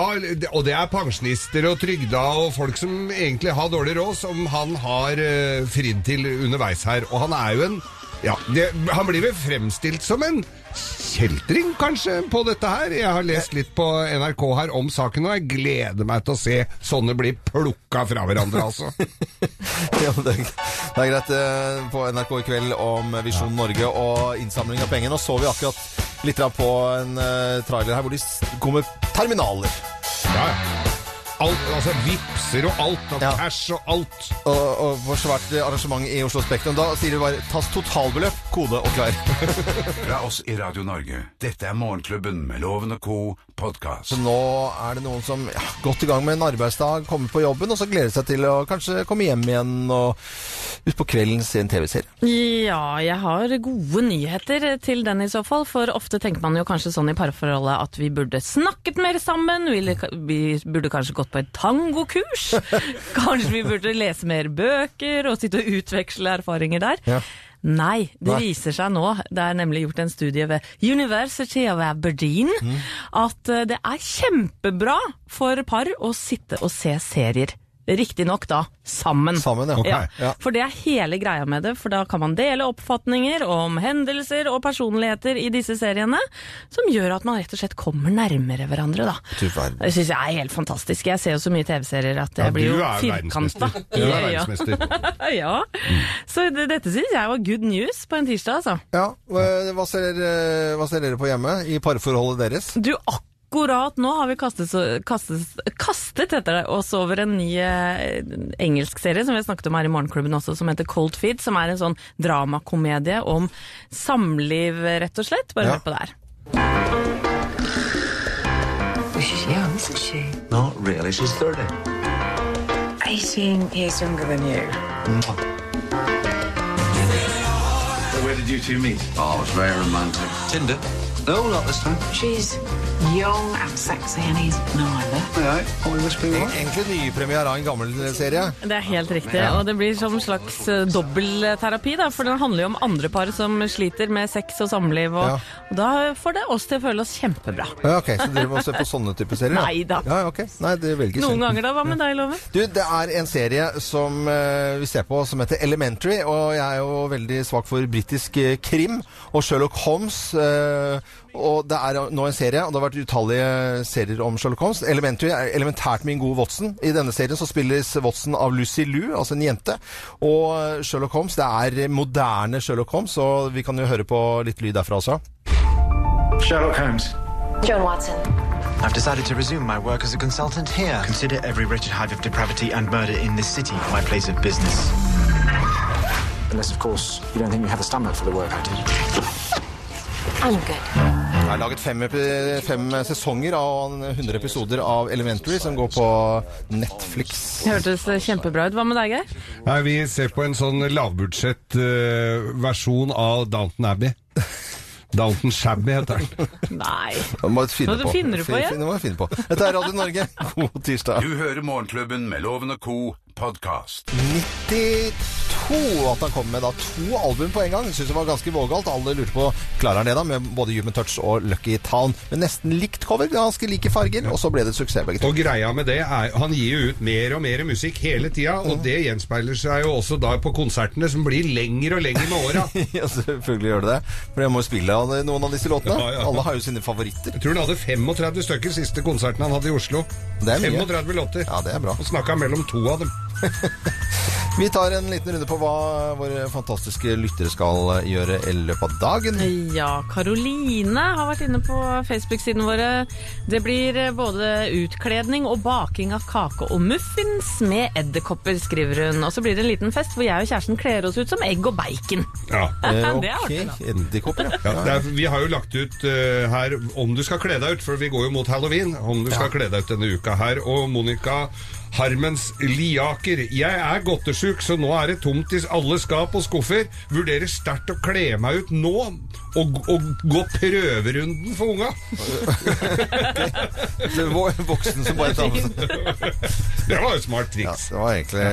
Speaker 4: og det er pensjonister og trygda og folk som egentlig har dårlig råd, som han har eh, fridd til underveis her. Og han er jo en ja, det, Han blir vel fremstilt som en kjeltring, kanskje, på dette her. Jeg har lest litt på NRK her om saken, og jeg gleder meg til å se sånne bli plukka fra hverandre, altså.
Speaker 3: Ja, det, er, det er greit eh, på NRK i kveld om Visjon Norge og innsamling av penger. Nå så vi akkurat litt grann på en eh, trailer her hvor de s- går med terminaler.
Speaker 4: Ja, alt, altså vipser og alt, og cash og alt.
Speaker 3: Og, og for svært arrangement i Oslo Spektrum. Da sier du bare 'tas totalbeløp, kode og klar'.
Speaker 2: Fra oss i Radio Norge. Dette er Morgenklubben med Loven og co. podkast.
Speaker 3: Så nå er det noen som ja, godt i gang med en arbeidsdag, kommer på jobben, og så gleder seg til å kanskje komme hjem igjen og utpå kvelden se en TV-serie.
Speaker 5: Ja, jeg har gode nyheter til den i så fall, for ofte tenker man jo kanskje sånn i parforholdet at vi burde snakket mer sammen, vi, vi burde kanskje gått på et tangokurs, kanskje vi burde lese mer bøker og sitte og utveksle erfaringer der. Nei, det
Speaker 12: Nei.
Speaker 5: viser seg nå, det er nemlig gjort en studie ved University of Aberdeen, at eh, det er kjempebra for par å sitte og se serier. Riktignok da sammen.
Speaker 3: Sammen, ja. Ok, ja.
Speaker 5: For det er hele greia med det, for da kan man dele oppfatninger om hendelser og personligheter i disse seriene, som gjør at man rett og slett kommer nærmere hverandre, da. Det syns jeg er helt fantastisk. Jeg ser jo så mye TV-serier at jeg
Speaker 4: Ja,
Speaker 5: blir
Speaker 4: du
Speaker 5: jo
Speaker 4: er jo
Speaker 5: firkanta.
Speaker 4: verdensmester. Mm. Du er verdensmester.
Speaker 5: ja. Så det, dette syns jeg var good news på en tirsdag, altså.
Speaker 3: Ja, hva, hva ser dere, hva ser dere på hjemme i parforholdet deres?
Speaker 5: Du, akkurat nå har vi kastet, så- kastet, kastet etter det, oss over en ny eh, engelsk serie som vi har snakket om her i Morgenklubben også, som heter Cold Feet, som er en sånn dramakomedie om samliv, rett og slett. Bare
Speaker 13: Ja.
Speaker 5: hør på det her.
Speaker 13: She's young, isn't she?
Speaker 9: Not really, she's 30.
Speaker 13: 18 years younger than you.
Speaker 9: Where did you two meet? Oh, it's very romantic. Tinder? No, not this time.
Speaker 13: She's young and sexy, and he's neither.
Speaker 3: Egentlig nypremiere av en gammel serie.
Speaker 5: Det er helt riktig,
Speaker 3: Ja.
Speaker 5: og det blir som en slags eh, dobbeltterapi, da, for den handler jo om andre par som sliter med sex og samliv, og,
Speaker 3: Ja.
Speaker 5: og da får det oss til å føle oss kjempebra.
Speaker 3: Ja, ok, Så dere må se på sånne typer serier?
Speaker 5: Nei da.
Speaker 3: Ja, ok. Nei, det velges sjelden.
Speaker 5: Noen ganger da, hva med deg, Loven?
Speaker 3: Du, det er en serie som eh, vi ser på som heter Elementary, og jeg er jo veldig svak for britisk eh, krim og Sherlock Holmes. eh, og det er nå en serie, og det har vært utallige serier om Sherlock Holmes. Elementary er elementært min gode Watson. I denne serien så spilles Watson av Lucy Liu, altså en jente. Og eh, Sherlock Holmes, det er moderne Sherlock Holmes, og vi kan jo høre på litt lyd derfra også.
Speaker 14: Sherlock Holmes.
Speaker 13: John Watson.
Speaker 14: I've decided to resume my work as a consultant here. Consider every wretched hive of depravity and murder in this city my place of business. Unless, of course, you don't think you have a stomach for the work I did.
Speaker 13: I'm good.
Speaker 3: Jeg har laget fem, epi- fem sesonger av 100 episoder av Elementary som går på Netflix.
Speaker 5: Hørtes eh, kjempebra ut. Hva med deg, Geir?
Speaker 4: Nei, vi ser på en sånn lavbudsjett eh, versjon av Downton Abbey. Downton Shabby heter den.
Speaker 5: Nei.
Speaker 3: Det må jeg finne
Speaker 5: Hva du
Speaker 3: på.
Speaker 5: finner på
Speaker 3: Fin-
Speaker 5: igjen?
Speaker 3: finne- må jeg finne på. Dette er Radio Norge. God tirsdag.
Speaker 2: Du hører Morgenklubben med Loven og co. podkast.
Speaker 3: 92 at han kom med da to album på en gang. Syns det var ganske vågalt. Alle lurte på klarer han det da, med både Human Touch og Lucky Town. Men nesten likt cover, ganske like farger, og så ble det et suksess begge to.
Speaker 4: Og greia med det er Han gir jo ut mer og mer musikk hele tida, og det gjenspeiler seg jo også da på konsertene, som blir lengre og lengre med åra.
Speaker 3: Ja, selvfølgelig gjør det det. For jeg må jo spille av noen av disse låtene.
Speaker 4: Ja, ja.
Speaker 3: Alle har jo sine favoritter.
Speaker 4: Jeg tror han hadde 35 stykker siste konserten han hadde i Oslo.
Speaker 3: Det er mye.
Speaker 4: 35 låter.
Speaker 3: Ja, det er bra.
Speaker 4: Og snakka mellom to av dem.
Speaker 3: Vi tar en liten runde på hva våre fantastiske lyttere skal gjøre i løpet av dagen.
Speaker 5: Ja, Karoline har vært inne på Facebook-siden våre. Det blir eh, både utkledning og baking av kake og muffins med edderkopper, skriver hun. Og så blir det en liten fest hvor jeg og kjæresten kler oss ut som egg og bacon.
Speaker 4: Ja.
Speaker 5: Eh, ok. Det er artig, da.
Speaker 3: Edderkopper, ja.
Speaker 4: Ja, det er, vi har jo lagt ut eh, her om du skal kle deg ut, for vi går jo mot halloween. Om du skal kle deg ut denne uka her. Og Monica Harmens Liaker. Jeg er godtesjuk, så nå er det tomt i alle skap og skuffer. Vurderer sterkt å kle meg ut nå, og, og gå prøverunden for unga.
Speaker 3: Det var Voksen som bare tar med seg
Speaker 4: Det var jo et smart triks.
Speaker 3: det var egentlig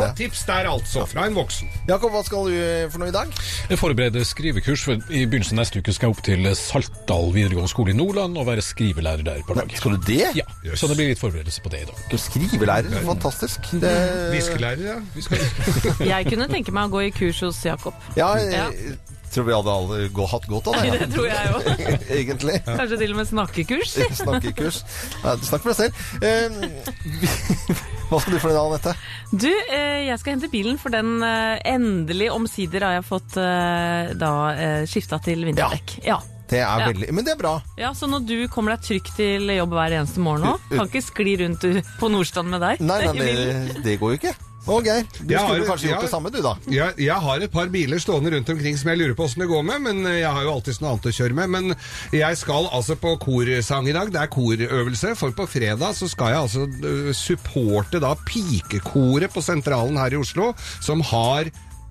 Speaker 4: Godt tips der, altså. Fra en voksen.
Speaker 3: Jakob, hva skal du eh, for noe i dag?
Speaker 15: Jeg forbereder skrivekurs. for I begynnelsen av neste uke skal jeg opp til Saltdal videregående skole i Nordland og være skrivelærer der et par dager.
Speaker 3: Skal du det?
Speaker 15: Ja, Så det blir litt forberedelse på det i dag.
Speaker 3: Skrivelærer, Mm. fantastisk. Det...
Speaker 4: Eh, Viskelærer, ja.
Speaker 5: Jeg kunne tenke meg å gå i kurs hos Jakob.
Speaker 3: Ja, jeg tror vi hadde alle gå, hatt godt av det.
Speaker 5: Det tror jeg òg.
Speaker 3: Egentlig.
Speaker 5: Kanskje til og med snakkekurs.
Speaker 3: Snakkekurs. Nei, snakk for deg selv. Eh, hva skal du for deg da, Anette?
Speaker 5: Du, eh, jeg skal hente bilen, for den eh, endelig omsider har jeg fått eh, da eh, skifta til vinterdekk. Ja.
Speaker 3: Det er
Speaker 5: Ja.
Speaker 3: veldig Men det er bra.
Speaker 5: Ja, Så når du kommer deg trygt til jobb hver eneste morgen nå, kan ikke skli rundt u- på Nordstrand med deg.
Speaker 3: Nei, nei,
Speaker 5: Det vil-
Speaker 3: det, det går jo ikke. Å, Geir. Du
Speaker 4: Jeg
Speaker 3: skulle
Speaker 4: har-
Speaker 3: kanskje gjort
Speaker 4: jeg-
Speaker 3: det samme, du, da.
Speaker 4: Jeg, jeg har et par biler stående rundt omkring som jeg lurer på åssen det går med, men eh, jeg har jo alltid noe annet å kjøre med. Men jeg skal altså på korsang i dag. Det er korøvelse, for på fredag så skal jeg altså øh, supporte da pikekoret på Sentralen her i Oslo, som har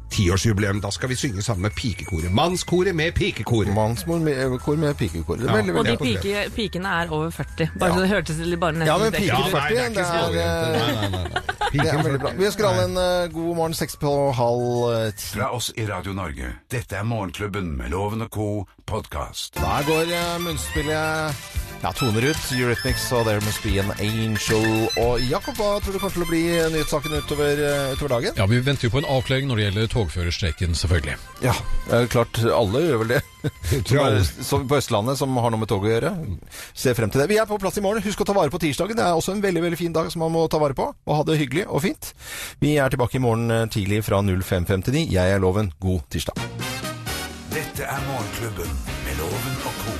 Speaker 4: tiårsjubileum. Da skal vi synge sammen med pikekoret. Mannskoret med pikekoret.
Speaker 3: Mannsmor med, kor med pikekor. Det er veldig,
Speaker 5: Og de
Speaker 3: veldig populært.
Speaker 5: pike, pikene er over 40. Bare så det hørtes litt- bare nesten
Speaker 3: Ja, men
Speaker 5: litt
Speaker 3: piker
Speaker 5: ekkelt ut.
Speaker 3: 40, det er, Det er veldig bra. Vi ønsker alle en eh, god morgen, seks på halv eh, ti.
Speaker 2: Fra oss i Radio Norge. Dette er Morgenklubben med Loven og co. podkast.
Speaker 3: Der går eh, munnspillet ja, toner ut. Eurythmics og There Must Be An Angel. Og Jakob, hva tror du kommer til å bli nyhetssaken utover, eh, utover dagen?
Speaker 15: Ja, Vi venter jo på en avklaring når det gjelder togførerstreiken, selvfølgelig.
Speaker 3: Ja, det er klart alle gjør vel det. Som
Speaker 15: alle.
Speaker 3: er, som på Østlandet, som har noe med tog å gjøre. Ser frem til det. Vi er på plass i morgen. Husk å ta vare på tirsdagen. Det er også en veldig veldig fin dag som man må ta vare på. Og ha det hyggelig og fint. Vi er tilbake i morgen eh, tidlig fra 05.59. Jeg er Loven. God tirsdag.
Speaker 2: Dette er Morgenklubben med Loven og co.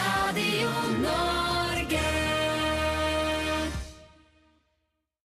Speaker 1: Radio Norge.